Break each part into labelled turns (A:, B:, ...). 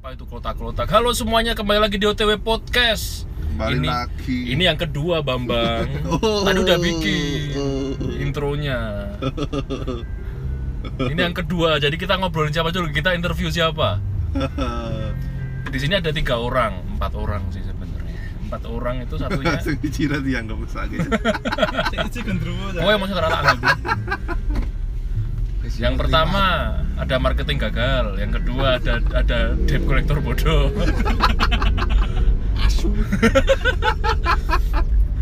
A: Apa itu kelotak-kelotak? Halo semuanya, kembali lagi di OTW Podcast.
B: Kembali
A: ini,
B: lagi.
A: Ini yang kedua, Bambang.
B: Oh.
A: Tadi udah bikin intronya. Ini yang kedua. Jadi kita ngobrolin siapa dulu? Kita interview siapa? Di sini ada tiga orang, empat orang sih sebenarnya. Empat orang itu satunya.
B: Langsung dicirat ya, dianggap sakit.
C: Itu gendruwo
A: Oh, yang masuk ke ranah anggap. Yang pertama ada marketing gagal, yang kedua ada ada debt collector bodoh.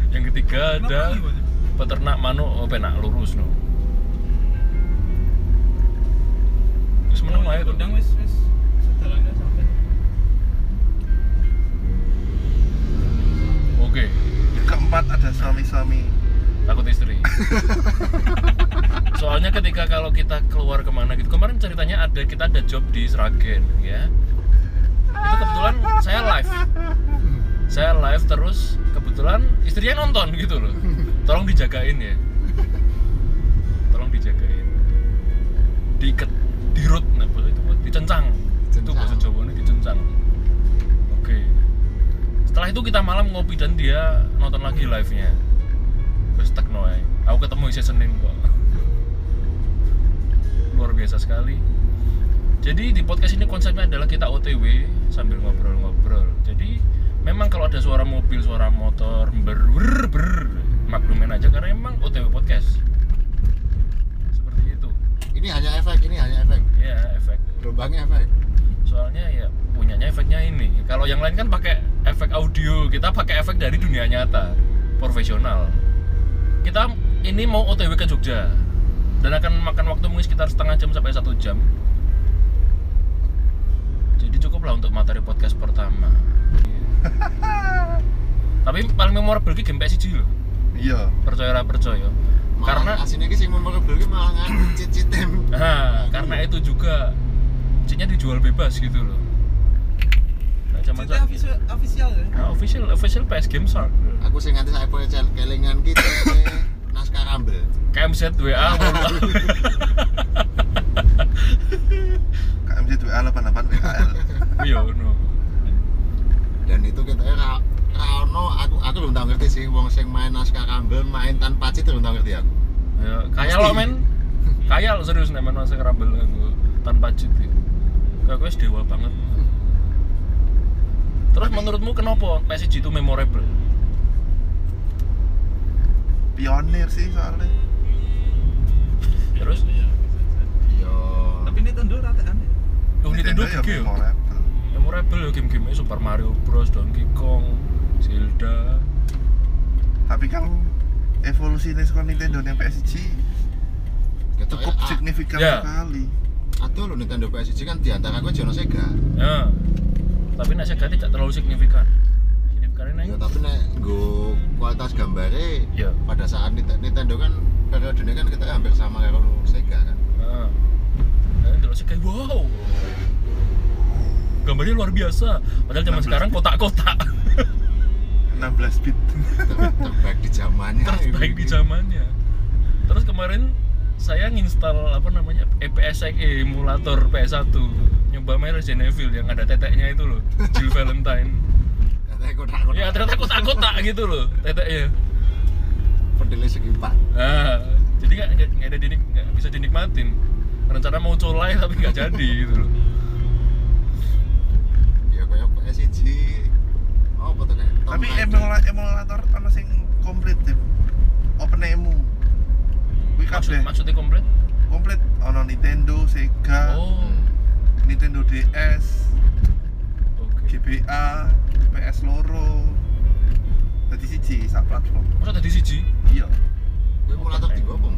A: yang ketiga ada
C: gitu,
A: peternak manuk oh, penak lurus no. Terus menang lah itu.
C: Udang wis wis sedalannya sampai.
A: Oke,
B: Yang keempat ada sami-sami.
A: takut istri. Soalnya ketika kalau kita keluar kemana gitu kemarin ceritanya ada kita ada job di Sragen ya. Itu kebetulan saya live. Saya live terus kebetulan istrinya nonton gitu loh. Tolong dijagain ya. Tolong dijagain. Diikat, dirut nah bahasa itu apa? dicencang. Itu
D: Dicencang.
A: bahasa Jawane dicencang. Oke. Setelah itu kita malam ngopi dan dia nonton lagi live-nya. Terus tekno ya. Aku ketemu isi Senin kok. Luar biasa sekali. Jadi di podcast ini konsepnya adalah kita OTW sambil ngobrol-ngobrol. Jadi memang kalau ada suara mobil, suara motor, ber ber, ber maklumin aja karena memang OTW podcast. Seperti itu.
D: Ini hanya efek, ini hanya efek.
A: Ya, efek.
D: Lubangnya efek.
A: Soalnya ya punyanya efeknya ini. Kalau yang lain kan pakai efek audio, kita pakai efek dari dunia nyata, profesional. Kita ini mau OTW ke Jogja dan akan makan waktu mungkin sekitar setengah jam sampai satu jam. Jadi cukuplah untuk materi podcast pertama. Tapi paling memorable ki game PSG loh.
B: Iya.
A: Percaya ra percaya.
D: Malah
A: Karena
D: aslinya ki sing memorable ki malah nganu cicit tem.
A: Nah, karena itu juga cinya dijual bebas gitu loh. Nah, zaman
C: Itu
A: saat-
C: official official ya.
A: Nah, official official PS Game Shark.
D: Aku sing nganti saya poe cel kelingan ki cicite naskah rambel.
A: KMZ WA mulu.
B: KMJ 2A 88 WKL.
A: Iya, no.
D: Dan itu kita ra ra ono aku aku belum tahu ngerti sih wong sing main naskah rambel main tanpa cicit belum tahu ngerti aku.
A: Ya, kaya lo men. Kaya lo serius nek men masa kerambel aku tanpa cheat. ya. Kayak gue dewa banget. Terus menurutmu kenapa PSG itu memorable?
B: Pionir sih soalnya.
A: Ya, Terus
B: Iya.
D: Yo.
C: Tapi ini tendu rataan ya.
A: Yo Nintendo
B: ya
A: gede yo.
B: memorable.
A: Memorable yo game-game Super Mario Bros, Donkey Kong, Zelda.
B: Tapi kalau evolusi ini sekolah Nintendo yang PSG cukup signifikan
A: Ya.
B: sekali.
D: Atau lu Nintendo PSG kan diantara aku jono Sega.
A: Ya. Tapi nek Sega tidak terlalu signifikan. Signifikan
D: Ya,
A: ini.
D: tapi nek nggo kualitas gambare
A: Ya.
D: pada saat Nite- Nintendo kan periodenya kan kita hampir sama kayak kalau Sega kan.
A: Nah. Nah, Delok Sega wow. Gambarnya luar biasa. Padahal zaman
B: 16.
A: sekarang kotak-kotak
B: 16 bit.
D: Ter- terbaik di zamannya. Iya.
A: terbaik di zamannya. Terus kemarin saya nginstal apa namanya eh, EPS E, emulator PS1 nyoba main Resident Evil yang ada teteknya itu loh Jill Valentine
D: Ternyata kotak-kotak.
A: ya ternyata kotak-kotak gitu loh teteknya
D: Pendelnya segi empat.
A: Nah, jadi nggak nggak- nggak ada dinik nggak bisa dinikmatin. Rencana mau colai tapi nggak jadi gitu loh.
D: Ya kayak PSG. Oh, apa tuh kayak? Tom
B: Tapi
D: Raider.
B: emula- emulator ana sing komplit tim. OpenEMU. Kuwi
A: Maksud,
B: kabeh
A: maksudnya komplit?
B: komplit ana Nintendo, Sega,
A: Oh,
B: Nintendo DS,
A: oke.
B: GBA, PS Loro. Dadi siji sak platform.
A: Masa tadi siji?
B: Iya,
D: Gue emulator di apa?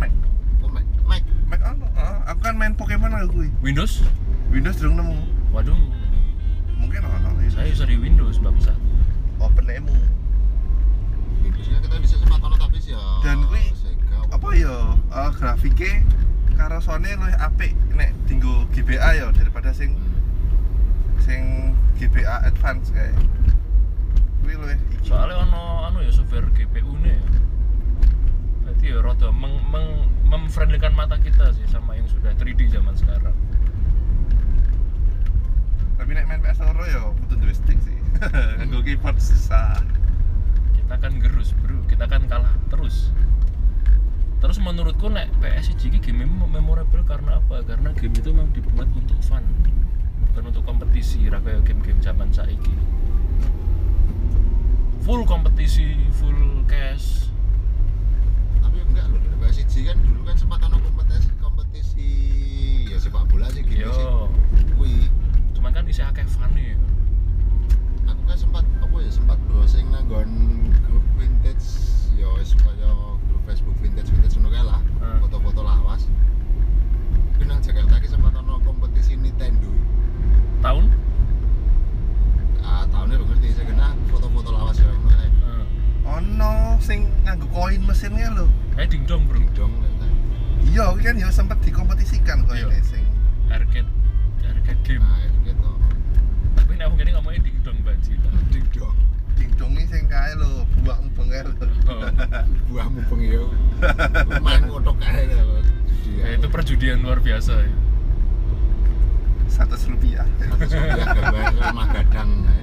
B: Mac.
D: Oh, Mac. Mac.
B: Mac ono. Ah, aku kan main Pokemon aku kuwi.
A: Windows?
B: Windows durung nemu.
A: Waduh,
B: Mungkin ono ya.
A: saya user di Windows bangsa.
B: OpenEMU.
D: Windowsnya kita bisa sempat ono tapi sih ya.
B: Dan kuwi-
D: Sega.
B: Apa ya eh, grafike karo Sony luwih apik nek dinggo GBA ya daripada sing
D: Hmm.
B: sing GBA Advance kayak kuwi luwih iki.
A: Soalnya ono anu ya software GPU nya ya. Berarti ya rada meng, meng, memfriendlykan mata kita sih sama yang sudah 3D zaman sekarang.
B: main PS loro ya butuh duwe stick sih. Nggo keyboard susah.
A: kita kan gerus bro kita kan kalah terus terus menurutku nek PSG ini game mem- memorable karena apa karena game itu memang dibuat untuk fun bukan untuk kompetisi ra kayak game-game zaman saiki full kompetisi full cash
D: tapi enggak loh dari PSG kan dulu kan sempat ada kompetisi kompetisi ya sepak bola sih gitu sih
A: yo
D: Wih,
A: cuman kan isi akeh fun ya
D: aku kan sempat apa ya sempat browsing nang nggon grup vintage ya wis kaya grup Facebook vintage vintage ngono kae lah
A: Hmm.
D: foto-foto lawas tapi nang Jakarta ki sempat ono kompetisi Nintendo
A: tahun
D: ah tahunnya belum ngerti saya kena foto-foto lawas ya ngono kae
A: eh,
B: Ono sing nganggo koin mesinnya lho.
A: kayak dingdong bro
D: dong
B: Iya, kan ya sempat dikompetisikan koinnya sing.
A: arcade arcade game
D: nah gitu
A: tapi nek aku ngene ngomongnya dingdong banji lah
D: ding dong
B: Dingdongi sing kae lho, buak mbengar lho.
A: Oh.
D: buahmu pengyo main ngotok kae gitu
A: ya, itu perjudian luar biasa ya.
B: 100 rupiah.
D: satu sudah gambar rumah gadang kae.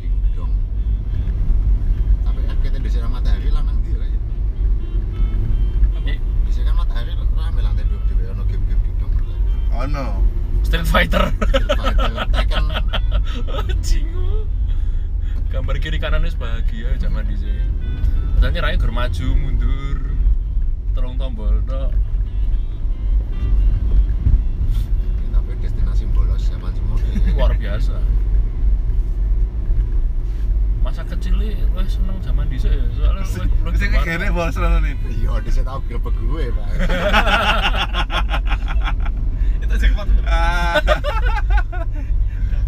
D: Ding dong. Tapi akhirnya di sana matahari lah nang ndi, lah ya.
A: Ini
D: Di sana kan matahari rame lantai dua dhewe ono game-game ding dong. lah.
B: Ono.
A: Street Fighter
D: Fighter, Tekken.
A: Jingu. Gambar kiri kanannya sebahagia zaman di sini. Misalnya raya gur maju mundur, terung tombol tok.
D: Ya, Tapi destinasi bolos zaman semua kayak-
A: luar biasa. Masa kecil ini wah seneng zaman di sini soalnya
B: Sing
A: lu
B: sing kene bos lho nih.
D: Iya, di sana tau grebek gue, Pak.
C: Itu jackpot.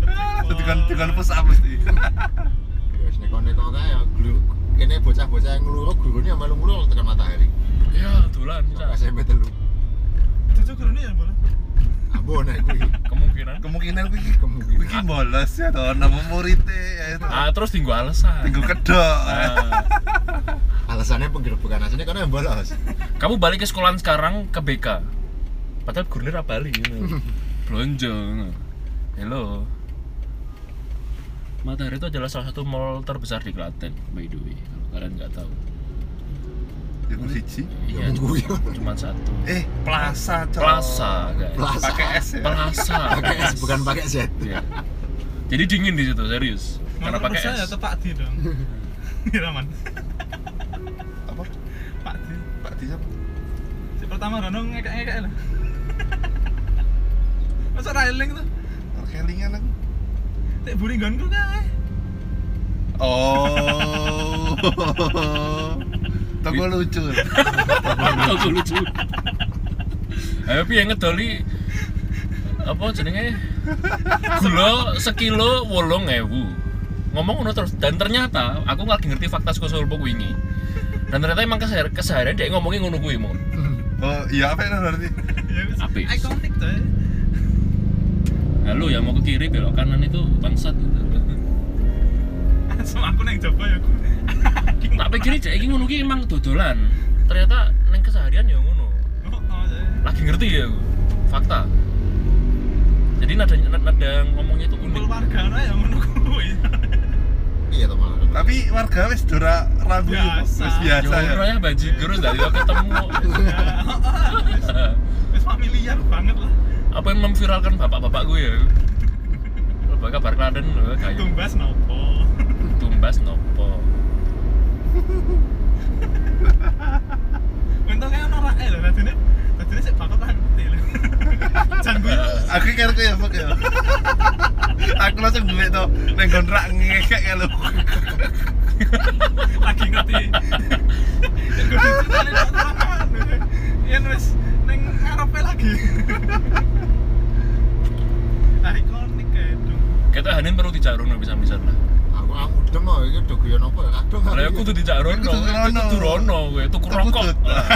B: Ah, tukang tukang push up mesti.
D: Ya wis neko-neko kae ya glu. Kene bocah-bocah yang ngeluruk gurune ya melu ngeluruk tekan matahari.
A: Ya dolan Cak.
D: Sampai SMP telu.
C: Cucu gerune ya bola.
D: Ambon ae kuwi.
A: kemungkinan.
B: Kemungkinan kuwi
D: Kemungkinan.
B: kuwi bolos ya to ana murid-e ya itu.
A: Ah terus tinggu alasan.
B: Tinggu Eh, kedok.
A: Ah,
D: alasannya penggerbekan alasannya karena yang bolos
A: kamu balik ke sekolahan sekarang ke BK. Padahal gurune ra bali ngono. Blonjo ngono. Hello. Matahari itu adalah salah satu mall terbesar di Klaten, by the way. Kalau kalian nggak tahu.
B: Ya ku siji.
A: Iya,
D: minggu ya.
A: cuma satu.
B: Eh, plaza cok.
A: Plaza, guys.
D: Plaza.
B: Pakai S ya.
A: Plaza.
D: pakai S bukan pakai Z
A: Iya. Jadi dingin di situ, serius. Karena
C: Mana
A: pakai
C: persen ya
A: es.
C: tuh Pak Di dong. Iraman.
B: Apa?
C: Pak Di.
B: Pak Di siapa?
C: Si pertama Rono ngekek-ngekek lah. Masa railing tuh?
B: Kelingan aku.
C: Tak buri gonku kae.
B: Oh. Toko lucu.
A: Lucu lucu. Ayo piye ngedoli apa jenenge? Gula sekilo 8000. Ngomong ngono terus dan ternyata aku lagi ngerti fakta saka Solo wingi. Dan ternyata emang kesehar- keseharian dia ngomongin ngono kuwi mau.
B: Oh, iya apa itu berarti?
C: Ya wis.
A: Apik.
C: Ikonik tuh. ya.
A: Halo ya mau ke kiri belok kanan itu bangsat gitu.
C: Sama aku neng coba ya aku.
A: Tak pikir dia iki ngono ki emang dodolan. Ternyata neng keseharian ya ngono.
C: Oh, oh, jadi.
A: lagi ngerti ya aku fakta jadi nada nada ngomongnya itu unik
C: Kumpul warga ana ya ngono kuwi.
D: iya teman
B: Tapi warga wis dora ragu ya,
C: Biasa.
B: wis biasa ya.
A: ya baji gerus dari lo ketemu
C: Ya, oh, oh, wis- Wis familiar banget lah.
A: apa yang memviralkan bapak-bapak gue ya lo bakal kabar kladen lo kayak
C: Tumbas nopo?
A: tumbas nopo
C: Untungnya ono rae lho tadine. Tadine sik bakal tak ngerti lho. Jan kuwi
B: Aku kira aku ya Pak ya. Aku langsung duit tuh neng kontrak ngekek ya lu.
C: lagi ngerti. Jan kuwi diceritain kok terangan, lho. Yen wis ning ngarepe lagi. Ikonik kae dong.
A: kita hanin perlu dijarun lo bisa bisa lah
D: aku aku udah mau ini udah gue nopo ya kadung
C: Nah,
A: kalau
C: iya.
A: aku tuh dijarun
B: Iku
A: lo
B: tuh rono.
A: itu ya rono gue tuh
B: Tuku
A: rokok
B: tut.
A: Ah.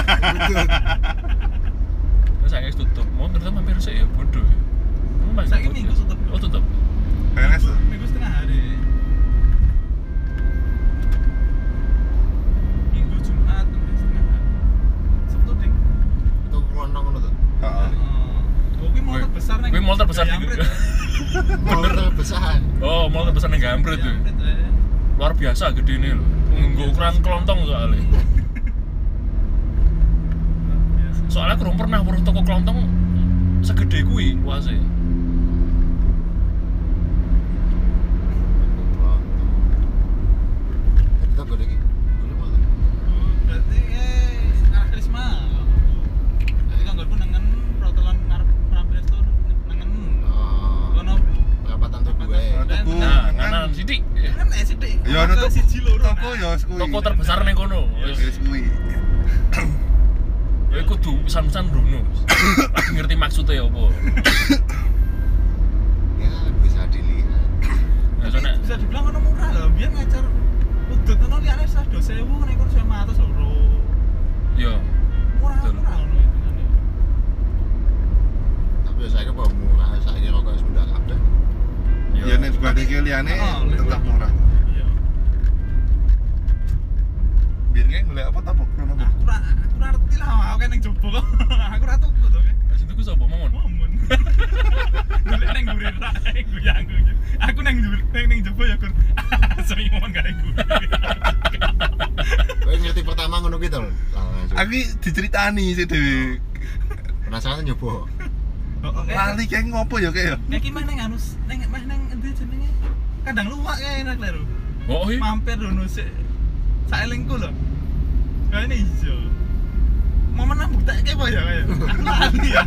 A: terus saya tutup mau ternyata mampir sih ya bodoh ya Emang masih
C: Saiki
A: tutup ya?
C: minggu tutup.
A: oh tutup
B: Beres. tuh.
C: Minggu setengah hari. Minggu Jumat sampai setengah hari. Sabtu ding.
D: itu kelontong ngono tuh
B: Heeh.
C: Oh,
D: perpisahan
A: oh mau tebusan yang gambret tuh luar biasa gede ini loh nggak ukuran kelontong soalnya soalnya kurang pernah burung toko kelontong segede kui luasnya
D: kita gue lagi gue malah
C: berarti eh, arah karisma jadi kanggolku nengen protolan ngarep rampil itu nengen
D: Oh,
C: kono
D: perapatan tuh gue
B: Tuku.
A: nah nganan sidik
C: kan eh sithik
B: Ya ono
C: Masa siji
B: toko
C: loro
B: toko
C: nah.
B: ya wis kuwi.
A: toko terbesar nih kono
B: Ya wis kuwi.
A: ya aku tuh pesan-pesan Bruno Lagi ngerti maksudnya apa
D: ya bisa dilihat
A: nah,
C: Tapi
A: soalnya
C: bisa dibilang kono murah loh biar ngajar udut kono liyane wis 2000 nek kono 500 loro
A: yo
C: murah
A: Betul.
C: murah ngono hitungane.
D: tapi ya, saya kira bahwa murah saya kira rokok sudah ada
B: Ya nek sebanding liyane
C: Oh,
B: tetap murah.
C: iya
B: Biyen kae golek apa ta Pok? Ono apa?
C: aku ra aku ra ngerti lah aku kan ning jopo kok aku ra tuku to kan
A: Habis itu gue sobo mongon
C: momen golek nang nguri ra guyangu aku nang nguri nang ning jopo ya kur sering ngomong gak nguri
D: gue ngerti pertama ngono gitu loh
B: Aku iki diceritani sih dhewe.
D: penasaran nyoba
C: Eh.
B: Lali kae ngopo ya kae ya?
C: Kayak gimana neng anus, neng mah neng endi jenenge? Kadang luwak kayak enak lho.
A: oh iya
C: Mampir rono sik. Saelingku lho. Kayane ijo. Momen nang buktekke apa ya kaya. Aku lali ya.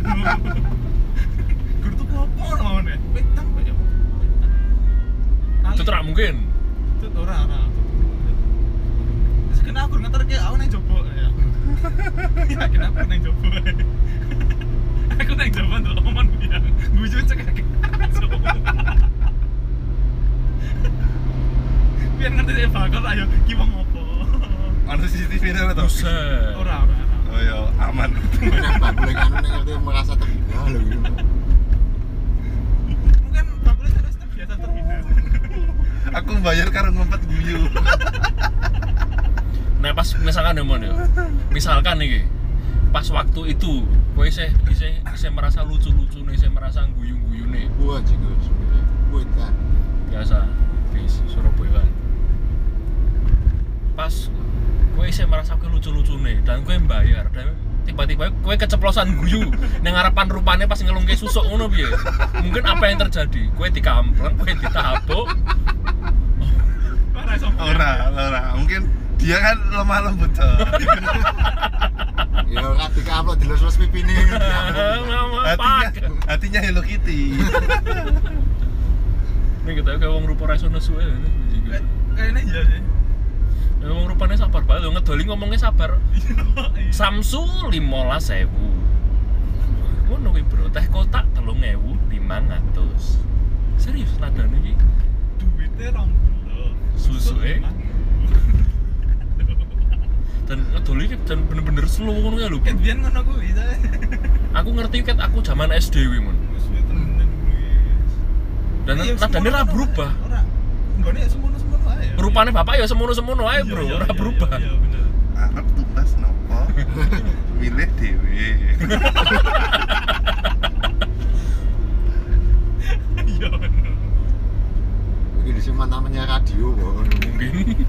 C: Gur tuku opo ngene? Wetang kok ya. Lali.
A: itu tidak mungkin
C: Tut, ora ora. Terus kenapa aku ngeterke aku nang jopo ya. Ya kenapa aku nang jopo? Aku nang jopo ndelok momen ya. Gujo cek aku. Biar ngerti deh bakal ayo ki wong opo.
B: Ono CCTV ne to?
A: buset
C: Ora ora. ora.
B: Oh ya aman.
D: enak bakule kan nek ngerti merasa terhina loh gitu
C: Mungkin bakal terus terbiasa terhindar.
B: Aku bayar karo ngumpet guyu.
A: nah pas misalkan ya mon ya misalkan nih pas waktu itu gue sih isih isih merasa lucu-lucu nih isih merasa guyu-guyu nih
D: gua juga sebenarnya gue kan
A: biasa di Surabaya pas gue isih merasa gue lucu-lucu nih dan gue bayar dan tiba-tiba gue keceplosan guyu nang harapan rupanya pas ngelung ke susuk ngono piye mungkin apa yang terjadi gue dikampleng gue ditabuk
C: Ora sopo.
B: Ora, ora. Mungkin dia kan lemah lembut. Cok.
D: ya ora diupload dilus-lus pipine
A: mama
B: Hatinya,
A: pak
B: hatinya Hello Kitty.
A: ini kita kayak wong rupa rasa nesu ya
C: Kayaknya iya sih.
A: wong rupanya sabar banget lho, ngedoli ngomongnya sabar
C: Iya.
A: Samsu limolas sewu ngono kuwi bro teh kotak telung ewu limang atus serius nadane iki
C: Duitnya rong puluh.
A: Susuke. dan ngedoli iki dan bener-bener slow ngono ya lho
C: Kan biyen ngono kuwi ta.
A: aku ngerti ket aku zaman SD kuwi mun
C: Wis suwe temenan kuwi.
A: dan
C: Iya,
A: nadane
C: semono
A: ra
C: kan
A: berubah
C: ora. Nggone ya semono-semono ae.
A: rupane bapak ya semono-semono ae bro
C: Iya,
A: ora
C: iya,
A: berubah
C: Iya, iya, bener.
B: Arab tumbas nopo? Milih dewe.
C: Iya, bener.
D: mungkin di sini namanya radio kok
A: mungkin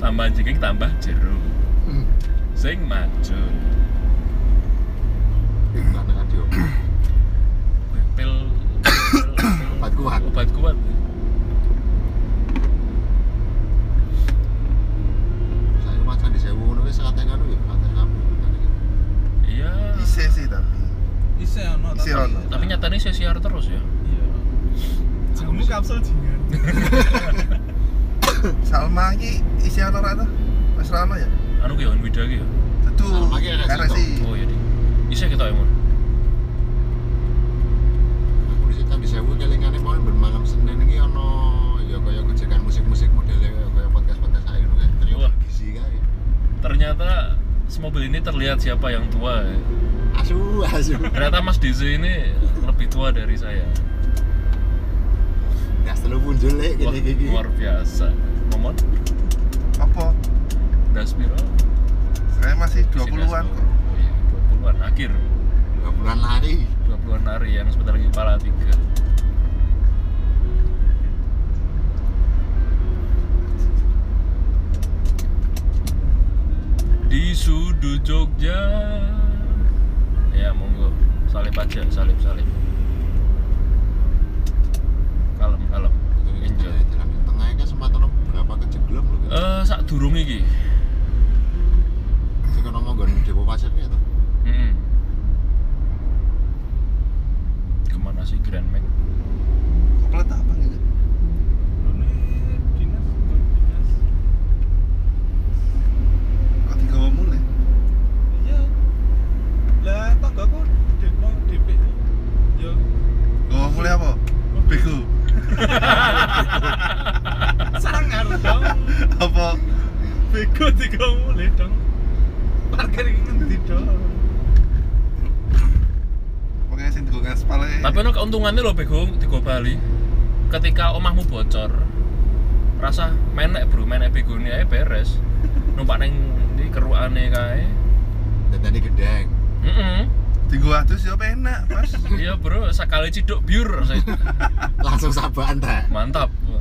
A: tambah jengking tambah jeruk Hmm. sing maju
D: gimana radio
A: pil pil- pil-
D: Obat kuat.
A: obat kuat
D: saya rumah candi sewu ngono wis kate ngono ya kate kamu gitu.
A: iya
B: Ise sih tapi.
C: Isih ono
B: Isih
C: tapi-
B: ono.
A: tapi nyatanya saya siar terus ya
C: Iya. Jamu kapsul jingan.
B: Salma iki isi ana ora tuh? Wis ora ana ya?
A: anu ki on beda ki ya
B: Tentu.
D: Salma ki RSI,
B: RSI.
A: oh iya di bisa kita emon
D: aku di sini Nah, candi sewu kelingane mau bermalam senin iki ono ya kaya gojekan musik-musik modelnya kaya- kaya podcast-podcast saya ngono kae trio
A: Wah.
D: gizi kae
A: ternyata semobil ini terlihat siapa yang tua ya.
D: asu asu
A: ternyata Mas Dizu ini lebih tua dari saya
D: das telu punjul lek
A: Wah,
D: gini gini
A: luar biasa momon
B: Apa?
A: das piro
B: Saya masih 20-an kok.
A: oh iya 20-an akhir
D: dua bulan lari
A: 20-an hari ya, yang sebentar lagi kepala tiga di sudut Jogja ya monggo salib aja salib salib kalem kalem
D: jadi
A: Enjoy.
D: jalan jalan di tengahnya kan sempat ono berapa kejeglem loh
A: eh
D: gitu
A: sak durung iki
D: sih kan ngomong gon depo pasir kayak tuh
A: hmm. kemana sih Grand Max
B: Koplet apa gitu?
C: dinas buat dinas
B: Kok tiga mulai?
C: iya lah tanggaku di mau DP ya
B: Gak mulai apa? Bego.
C: sangar dong
B: apa?
C: bego tiga mulai dong parkir ini ngendi dong
B: Pokoknya sing digo ngaspal ae.
A: Tapi ono keuntungannya loh bego di Go Bali. Ketika omahmu bocor, rasa menek bro, menek begone ae beres. Numpak neng di keruane kae.
D: dan tadi gedeng
A: Heeh.
B: digo atus ya enak, Mas.
A: Iya bro, sekali ciduk biur rasanya.
D: langsung sabaan teh
A: Mantap. Wah.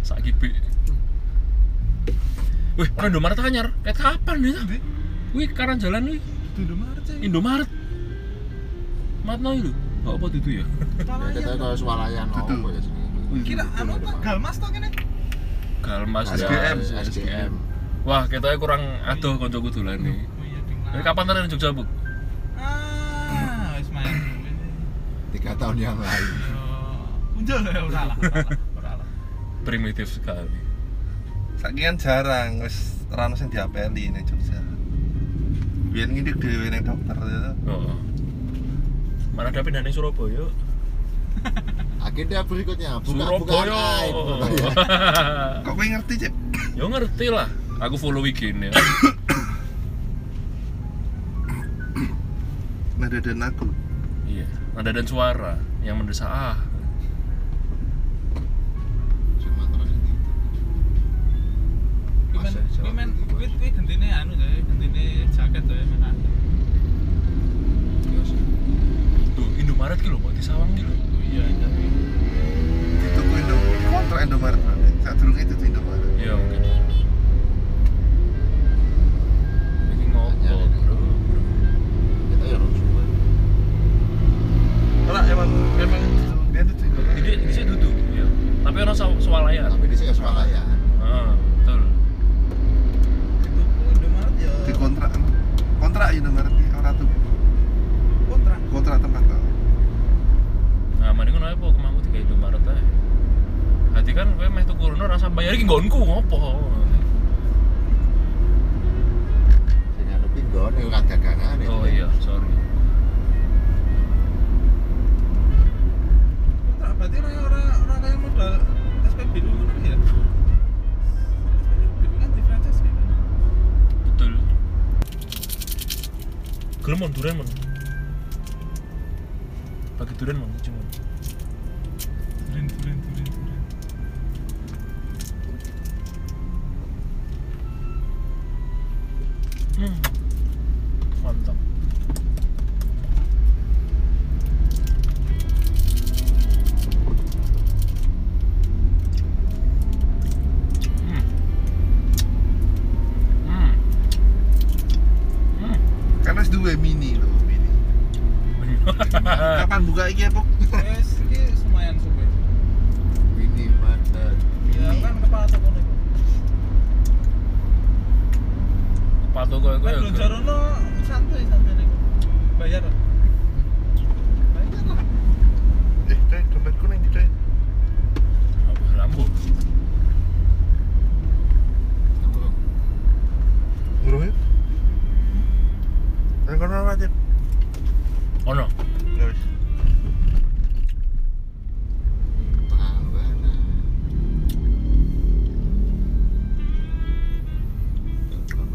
A: Sak kibi. Wih, kok Indomaret anyar? Kayak kapan nih? Sam?
C: Di-
A: Wih, karan jalan wih.
C: di Indomaret sih
A: Indomaret. Matno itu. Enggak apa itu ya?
D: ya kita
C: Talayan.
D: kalau swalayan
B: Tutu.
D: apa ya sini
C: kira anu tanggal mas tau kene
A: Galmas ya.
B: SGM.
D: SGM
A: Wah, ketoknya kurang aduh kancaku dolan iki.
C: Oh iya, di
A: Ini
C: Malang.
A: kapan tadi di Jogja, Bu?
C: ah wis main duit.
D: tiga tahun yang lalu
C: Yo, unjul ya ora lah ora lah, ora lah
A: primitif sekali
B: Saiki kan jarang wis rano sing diapeli ning Jogja. Biyen ngidik dhewe ning dokter ya.
A: oh. mana ada pindahan Surabaya
D: agenda berikutnya buka buka
A: Surabaya
D: aib
B: Kok kowe ngerti, Cep?
A: ya ngerti lah aku follow ya. IG-nya
B: Nah, dadan aku.
A: iya nada dan suara yang mendesak ah
D: cuma terus ini
C: Kuwi men
D: Masa dijawab
C: kuwi men
D: gitu, Mas?
C: kuwi kuwi gendine anu ya gendine jaket ya men anu.
D: Iya sih.
A: tuh Indomaret gitu loh kok di Sawang gitu
C: Oh iya jadi
B: Dituku Indo. Kontrak Indomaret. berarti. Sadurunge itu Indomaret.
A: iya mungkin ini ngopo bro
D: kita ya harus coba.
B: Ora emang emang dia itu Indomaret.
A: jadi di situ duduk iya tapi orang saw- swalayan
D: tapi di sini swalayan
A: ah, betul
C: itu kuwi Indomaret ya
B: Dikontrak. Kontrak Indomaret iki ora tuh.
C: kontrak
B: Kontrak tempat kok.
A: nah mending kenapa aku kemampu tiga Indomaret aja hati kan gue meh tuku rono rasa bayar iki nggonku ngopo
D: sing ngadepin gon ya ora dagangan ya.
A: Oh iya, sorry.
C: kontrak berarti ora ora ora kaya modal SPB dulu ngono ya SPB kan di franchise ya kan?
A: Betul. Gelem mon duren mon. Pakai duren mon cuma.
C: duren duren duren duren
A: Hmm. Mantap. Hmm. Hmm. Hmm. Hmm.
B: Karena wis duwe mini lho, mini. Kapan buka iki ya, Pok?
C: wes iki lumayan suwe
D: Mini Market.
C: ya kan kepala toko niku
A: Patung koyo
C: kan
A: koyo.
C: Blonjarono santai santai niku bayar lah. bayar lah
B: Eh, Teh, dompetku nang ndi, Teh?
A: Lampu.
D: Kamu dong.
B: Ngurung ya? Nang kono ora, Cep?
A: Ono.
B: Ya wis.
D: Pengalaman.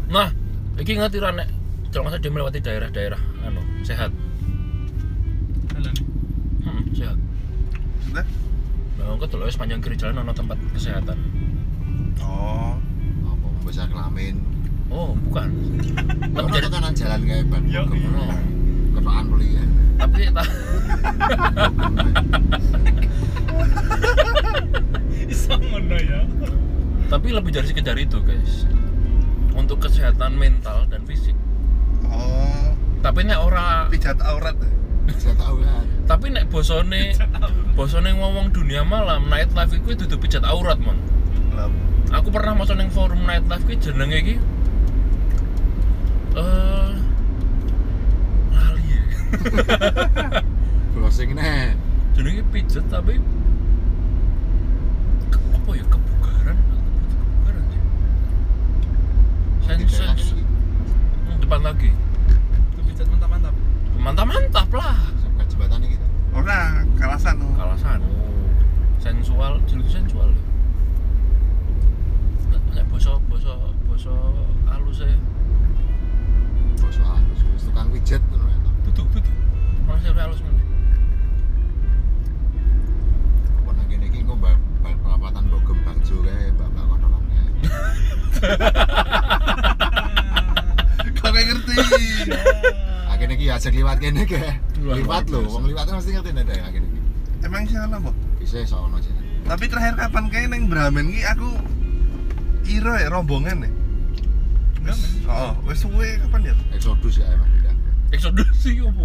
A: Nah, iki ngerti ra nek kalau masa dia melewati daerah-daerah anu sehat.
C: jalan
A: Hmm, sehat.
B: Sudah?
A: Nah, engko delok wis panjang kiri jalan ono tempat kesehatan.
B: Oh.
D: Apa membesar kelamin?
A: Oh, bukan.
D: Kamu
A: Menjadi
D: kanan jalan kayak ah. ban.
C: Yo,
D: Kamu
A: ono.
D: ke cetokan beli ya.
A: tapi ta-
C: iso ngono ya
A: tapi lebih dari sekedar itu guys untuk kesehatan mental dan fisik
B: oh
A: tapi nek ora
B: pijat aurat ya?
D: Saya tahu kan.
A: tapi nek bosone bosone ngomong dunia malam nightlife iku dudu pijat aurat mon
B: Lah,
A: aku pernah masuk neng forum nightlife ki jenenge ki eh lali ya
D: Browsing nah. nih.
A: jenenge pijat tapi ke- apa ya kebugaran kebugaran ya
D: Di
A: sense
D: daerah
A: sense
D: ini,
A: Hmm, depan lagi
C: kepijat mantap-mantap
A: mantap mantap lah
D: sebelah jembatan ini gitu.
B: ora kalasan oh.
A: kalasan sensual jelek sensual lho. Nek- nek boso boso boso halus ya
D: Bos halus, bos ah. tukang widget ya, tuh ternyata.
A: duduk duduk mana sih halus mana
D: Pernah gini gini kok bal bal perapatan bogem bang jure bal bal kotorannya.
B: kok gak ngerti
D: Akhirnya gini asik ya, liwat gini kayak
A: Luar
D: liwat
A: biasa.
D: loh. Wong liwatnya mesti ngerti nih deh akhirnya gini.
B: emang salah bu
D: Bisa soalnya sih.
B: tapi terakhir kapan kayak neng Bramen ki aku iro ya rombongan ya
C: Enggak, men.
B: oh wes suwe kapan ya
D: Exodus ya emang pindah.
A: eksodus sih opo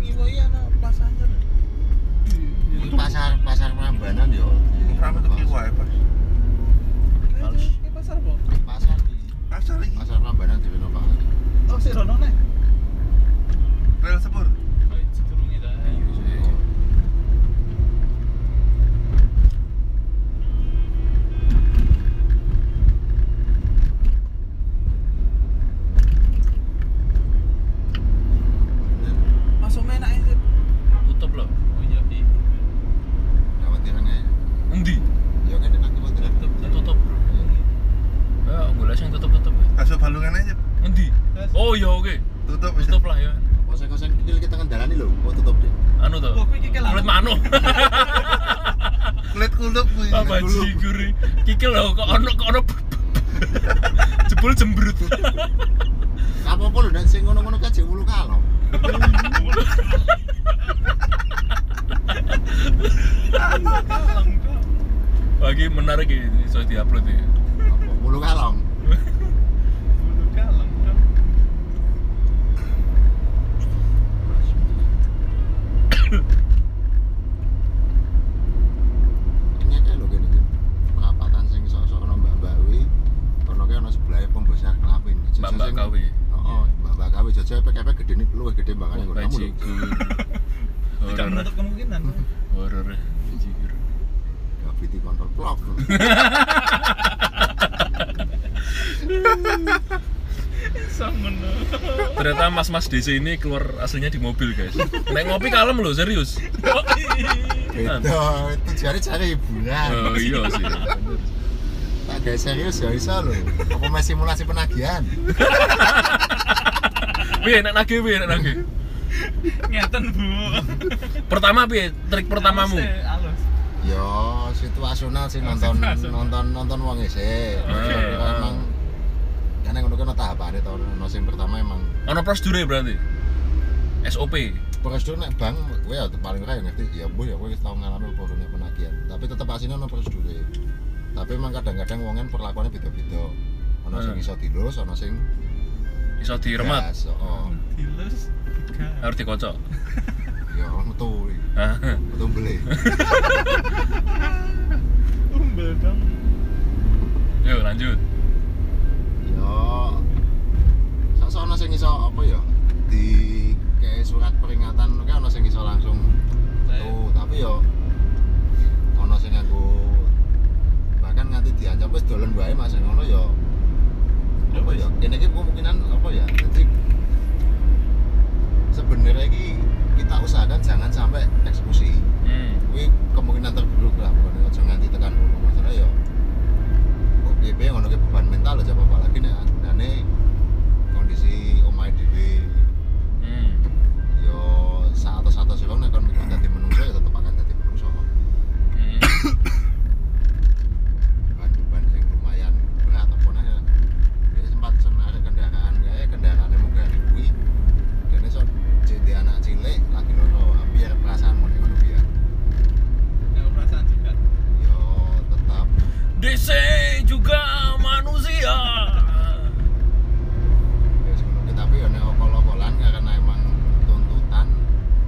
C: ngiloy ana Plaza Anyar. Iya,
D: Ini pasar pasar Prambanan yo.
B: Ramen tuh kiwa ya pas
A: Males.
C: Ini pasar apa?
D: Pasar di
B: asal ini
D: pasar Prambanan di renovasi.
C: Oh, sih rono nih.
B: rel sepur
C: sedurunge ta.
D: Oh.
C: Masuk menak ae. Sip.
A: tutup loh
C: Oh iya, di
D: Lewat tirangnya.
A: endi
D: Yo kan enak lewat tirang.
C: tutup.
A: tutup bro ya gue sing tutup tutup ya
B: kasih balungan aja
A: endi oh iya oke
B: tutup bisa
A: tutup lah ya
D: Kosen-kosen kecil kita kendalani lho, kok tutup deh.
A: anu tuh
C: Wah, kuwi iki kelan.
A: kulit manu
B: kulit kulup kuwi
A: apa jiguri kikil loh kok ono kok ono jebul jembrut
D: Apa apa lho dan sing ngono-ngono kae jek wulu kalong.
C: Kalem kok.
A: lagi menarik ya ini so diupload ya
D: Apa wulu kalong.
C: Bulu kalem kok.
D: Ini kae lho kene iki. Perapatan sing sok-sok ono mbak-mbak kuwi. Ono kae ono sebelahe pom besar kelapin. Jajan
A: Mbak-mbak
D: sing-
A: kawi.
D: Heeh, mbak-mbak kawe jajal PKP gede nih luwih gede mbakane
A: Oh,
D: ngono.
A: Pak
D: Kamu lho.
A: Jigur.
C: Tidak
A: horor
C: menutup kemungkinan.
A: horor Pak Jigur.
D: Graffiti kontrol blok. lho.
C: Iso ngono.
A: ternyata mas-mas DC ini keluar aslinya di mobil guys naik ngopi kalem loh serius
D: Beda, itu jare-jare hiburan.
A: oh iya sih
D: Tak gawe serius ya iso lho. Apa masih simulasi penagihan?
A: piye enak lagi piye enak lagi
C: Ngeten, Bu.
A: pertama piye trik pertamamu
C: Halus, eh, halus.
D: Yo, situasional sih nonton nonton nonton wong isih. Maksudnya
A: Ah.
D: Emang karena ngono kan tahapane to. Ono sing pertama emang
A: ono prosedure berarti SOP
D: prosedur nek bang kowe ya paling ora ya ngerti ya bu ya kowe wis tau ngalami apa dunia penagihan. Tapi tetep asine ono prosedure. Tapi emang kadang-kadang wong kan perlakuannya beda-beda. Ono sing
A: Hmm.
D: iso dilus, ono sing
A: bisa diremat
D: gas, Oh,
C: Hmm. Dilus. digas.
A: harus dikocok
D: ya metu,
A: Hah?
D: metu beli.
C: Umbel dong.
A: yuk lanjut
D: Ya. Sasa ono sing iso apa ya? Di kayak surat peringatan kayak ono sing iso langsung tuh, tapi ya ono sing nganggo bahkan nganti diancam wis dolen wae Mas sing ngono ya. Apa ya? Kene iki kemungkinan apa ya? Jadi sebenarnya iki kita usahakan jangan sampai eksekusi.
A: hmm.
D: Kuwi kemungkinan terburuk lah pokoknya aja nganti tekan kono maksudnya ya. Kok piye ngono ki beban mental aja apa lagi nek andane kondisi omahe dhewe
A: Hmm.
D: ya satu-satu sih bang nek kon mikir dadi menungso ya tetep akan dadi menungso.
A: Hmm.
D: Beban-beban yang lumayan berat apa Ya, nah kan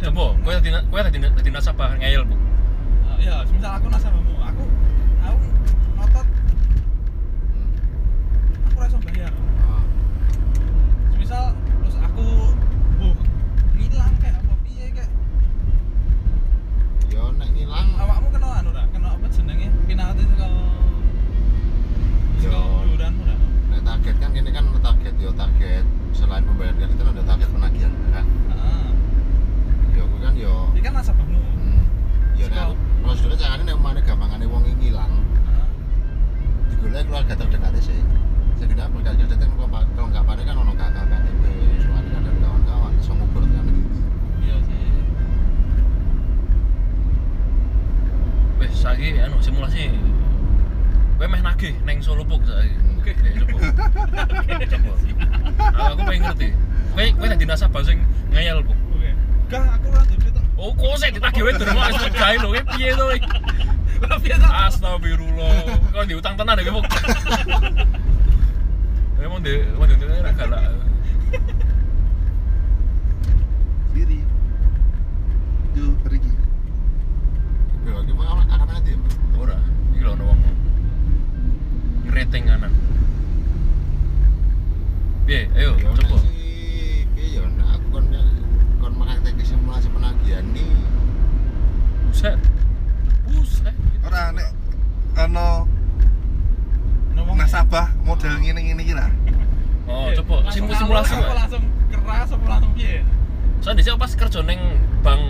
D: Ya, ya, Hmm.
A: kowe tadi tadi nasabah ngeyel bu
C: Eh, ya semisal aku nasabahmu aku aku ngotot aku rasa bayar
D: Ah,
C: semisal terus aku buh ngilang kayak apa piye kayak
D: yo Ya, nek ngilang
C: awakmu kena anu ora kena apa jenenge penalti saka saka
D: Yo.
C: iuranmu ora
D: nek target kan ini kan target yo target selain pembayaran kredit kan ada target penagihan kan
C: heeh
D: yo aku kan yo
C: iki Ah, kan nasabahmu
D: hmm, yo nek
C: Sego.
D: aku- prosedurnya caranya nek mana gampangane wong ini ngilang
C: Heeh.
D: digolek keluarga terdekatnya sih sekedar berkat kredit kan kelengkap- kelengkapannya kan ono kakak KTP soal kan ada kawan-kawan iso ngukur kan
C: iya sih
A: wes saiki anu simulasi kowe meh nagih neng Solo puk saiki
D: Oke.
A: Ya, coba coba aku aku pengen ngerti kowe kowe tadi nasabah sing ngeyel bu
C: oke gak aku ora duwe duit, tok
A: oh kok sih ditagih wae durung wis gawe lho kowe piye to kowe?
C: lah piye tok
A: Astagfirullah. Kau diutang tenan ya kamu. Emang deh, emang deh, emang galak.
B: Diri. Tuh, pergi.
D: yo iki mau arah arah mana tim
A: Ora, iki lho ono wong rating kanan. Piye, ayo
D: Yo, nek
A: coba.
D: si- piye yo nek ya aku kon kon praktek simulasi penagihan nih
A: Buset. Buset.
B: Ora nek ana
C: Ono wong-
B: nasabah model ngene-ngene iki lah.
A: Oh,
C: Eh,
A: coba
C: langsung
A: Simu-
C: halus
A: simulasi.
C: apa
A: Pak.
C: langsung keras apa langsung piye
A: Soalnya dhisik pas kerja ning bank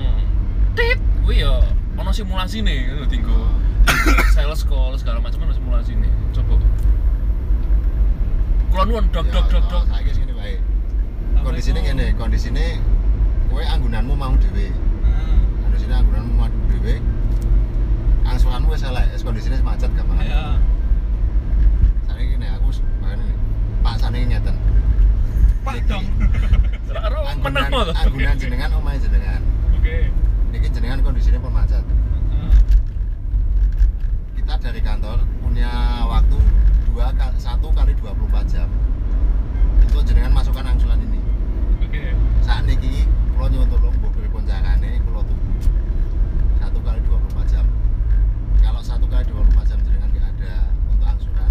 A: tit kuwi ya ono simulasi nih ngono tinggo. Sales call segala macam ono simulasi nih. Coba. Kulo nuwun dok dok dok dok.
D: saya guys gini baik kondisinya gini kondisinya kue anggunanmu mau dewe
C: Heeh.
D: kondisinya anggunanmu mau dewe angsuranmu wis elek es kondisinya macet gak
A: Ya.
D: mana
C: Iya.
D: saya gini aku sebenarnya pak sana ngeten
C: Pak dong.
A: Ora
D: anggunan
A: meneng to.
D: anggunan jenengan omah jenengan
C: Oke. Nah,
D: ini jenengan kondisinya pun macet
C: Heeh.
D: kita dari kantor punya waktu dua ka- satu kali 24 jam untuk jenengan masukkan angsuran ini
C: Oke.
D: saat ini kalau nyuwun tolong mbok beri konjakannya kalau tunggu satu kali 24 jam kalau satu kali 24 jam jenengan nggak ada untuk angsuran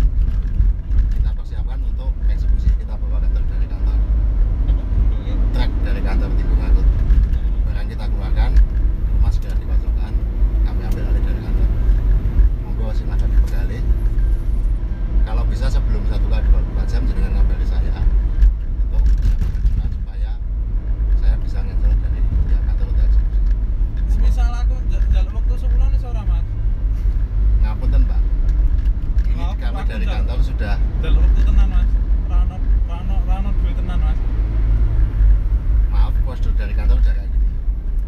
D: kita persiapkan untuk eksekusi kita bawa kantor dari kantor
C: Oke.
D: truk dari kantor timbul ngangkut barang kita keluarkan rumah segera dipojokkan kami ambil alih dari kantor monggo silakan dipegali kalau bisa sebelum satu kali 24 jam jenengan ngabari saya untuk menyampaikan supaya saya bisa ngecel dari pihak kantor untuk eksekusi
C: Semisal aku ja- jaluk waktu sebulan iso ora, Mas?
D: ngapunten pak ini
C: Maaf,
D: kami
C: Pak,
D: dari
C: Kunto.
D: kantor sudah
C: Jaluk waktu tenan, Mas. Rano rano rano duit tenan, Mas.
D: maaf prosedur dari kantor sudah kayak gini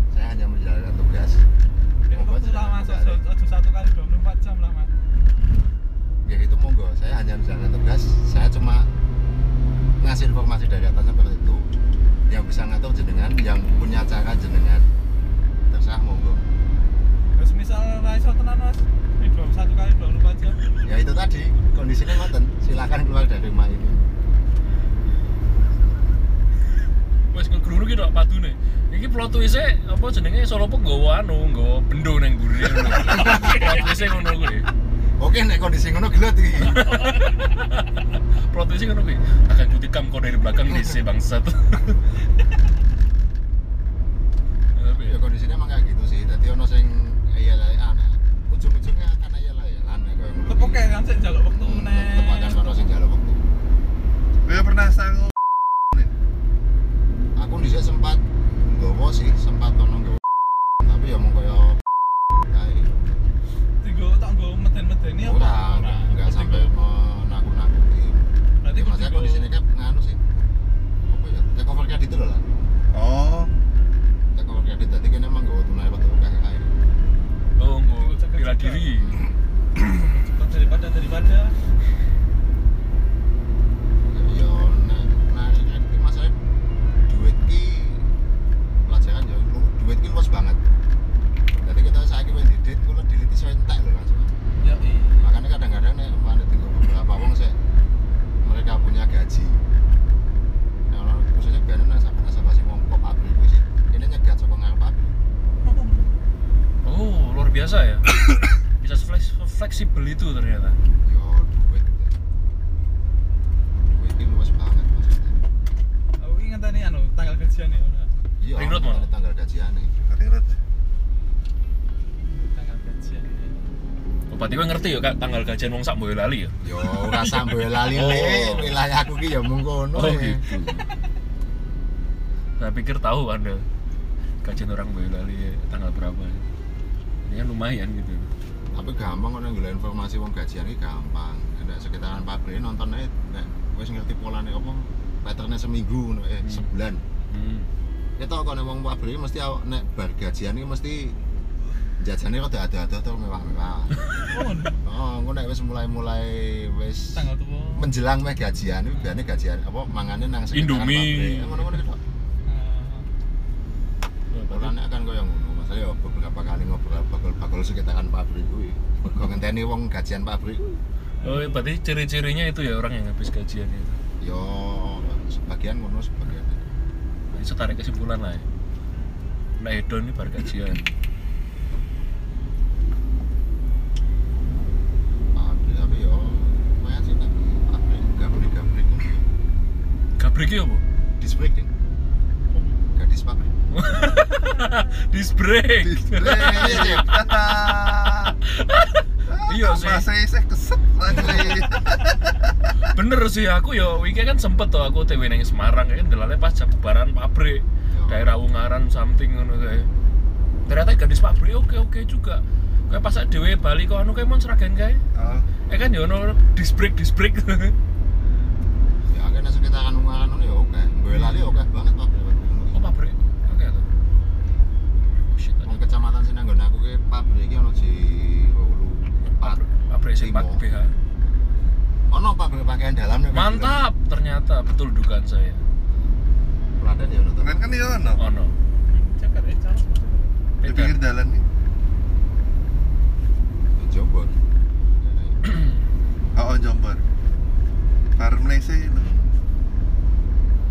D: saya hanya menjalankan tugas
C: Dek
D: Monggo
C: waktu lah,
D: silakan
C: Mas.
D: kembali.
C: Ojo- ojo satu kali 24 jam lah, Mas.
D: ya itu monggo saya hanya menjalankan tugas saya cuma ngasih informasi dari atas seperti itu yang bisa ngatur jenengan yang punya cara jenengan terserah monggo
C: Terus misal Ya, ora iso tenan, Mas. Di 21 kali 24 jam.
D: ya itu tadi kondisinya ngoten silakan keluar dari rumah ini
A: Wes ngegrunu ki tok padune. Iki plot twist-e apa jenenge Solo Pok nggawa anu, nggawa bendo nang mburi. Plot twist-e ngono kuwi.
D: oke nek kondisi ngono gelut iki
A: Plot twist-e ngono kuwi. ya? Akan ku tikam kau dari belakang DC bangsat. Ya, tapi
D: ya kondisinya emang kayak gitu sih tadi ono sing ya, ayel-ayelan ujung-ujungnya akan ayel-ayelan ya, kayak ngono.
C: Tepuk kayak kan sik jaluk waktu
D: Hmm,
C: meneh.
D: tepakan ono sing jalan waktu
B: Gue pernah sangu
D: aku dhisik sempat nggawa sih sempat ono nggawa tapi ya mung kaya kae
C: Tigo tak nggo meden-medeni apa?
D: Ora, enggak
C: Iya, Berarti
D: sampai
C: gua-
D: menakut-nakuti.
C: Berarti
D: Ya,
C: gua
D: maksudnya
C: tigo-
D: kondisinya kan nganu sih. Apa ya? Takeover kredit itu loh lah.
B: Oh,
D: Takeover kredit tadi kan emang gak tunai waktu KKI.
A: Oh, nggo bela diri.
C: Cepat daripada daripada.
D: Ya nek nah kredit ki masalahnya duit ki pelajaran ya lu duit ki luas banget. Jadi kita saiki wis didit kula diliti iso entek lho langsung.
C: Ya iya.
D: Makanya kadang-kadang nek mana tinggal beberapa wong sih mereka punya gaji. Nah, orang khususnya biasanya nasabah-nasabah sih wong pop abri itu sih. Ini nyegat saka ngarep abri.
C: Oh,
A: biasa ya bisa flex- fleksibel itu ternyata
D: yo duit duit ini luas banget maksudnya
C: aku ingat tadi anu tanggal kerjaan ya ora
D: iya
A: Ringrod, Mon.
D: ada tanggal gajian nih
B: Ringrod.
C: tanggal kerjaan ya.
A: oh, berarti gue ngerti ya kak tanggal gajian wong sak boyolali ya
D: yo ora sambil lali
A: Oh.
D: le wilayah aku ki ya mung kono
A: Oh,
D: ya.
A: gitu. saya pikir tahu anda gajian orang boyolali tanggal berapa ya. ini kan lumayan gitu
D: tapi gampang kok nggolek informasi wong gajian iki gampang ada sekitaran pabrik nonton ae nek wis ngerti polane apa patternnya seminggu ngono eh
A: Hmm.
D: sebulan
A: hmm.
D: kita kok nek wong pabrik mesti awak- nek bar gajian iki mesti jajannya kok ada-ada tuh mewah-mewah
C: Oh,
D: oh engko nek wis mulai-mulai wis
C: tanggal tua
D: menjelang meh gajian itu biasanya gajian apa mangane nang sekitaran
A: Indomie.
D: pabrik. Eh, ngono-ngono gitu
A: Wah, berarti
D: Polane akan kan koyo ngono masalah ya beberapa kali ngobrol bakul-bakul kan sekitaran pabrik kuwi kok ngenteni wong gajian pabrik
A: Oh, berarti ciri-cirinya itu ya orang yang habis gajian itu.
D: yo Ya, sebagian ngono sebagian
A: Nah, itu tarik kesimpulan lah ya. Nah, hedon ini bar gajian.
D: pabrik tapi yo lumayan sih tapi pabrik gabrik gabrik
A: Gabrik ya, Bu?
D: disbreak ding gadis pabrik
A: Disc brake.
D: disbreak
A: Iya sih.
B: Masih saya keset lagi.
A: Bener sih aku ya weekend kan sempet tuh aku TW nang Semarang kan delale pas jam bubaran pabrik. Daerah Ungaran something ngono kae. Ternyata gadis pabrik oke-oke juga. Kayak pas dhewe Bali kok anu kayak mon seragen kae.
B: Oh,
A: Eh kan ya ono disc brake, disc brake.
D: ya kan nang sekitaran ungaran ngono yo oke gue lali oke banget pabrik
A: oh, pabrik. Oke tuh. Oh, shit. ada
D: Wong kecamatan sing nggon aku ki pabrik iki ono di Wulu Pat.
A: Pabrik sing
D: Limo.
A: BH.
D: Ono pabrik pakaian dalam nek
A: Mantap, ternyata betul dugaan saya.
D: Klaten ya ono to.
B: keren kan ya ono.
A: Oh iya. no.
C: cakar eh cakar
B: Di pinggir
A: Edan.
B: jalan nih.
D: Di Jombor.
B: Oh, oh, Jombor. Bar Malaysia itu.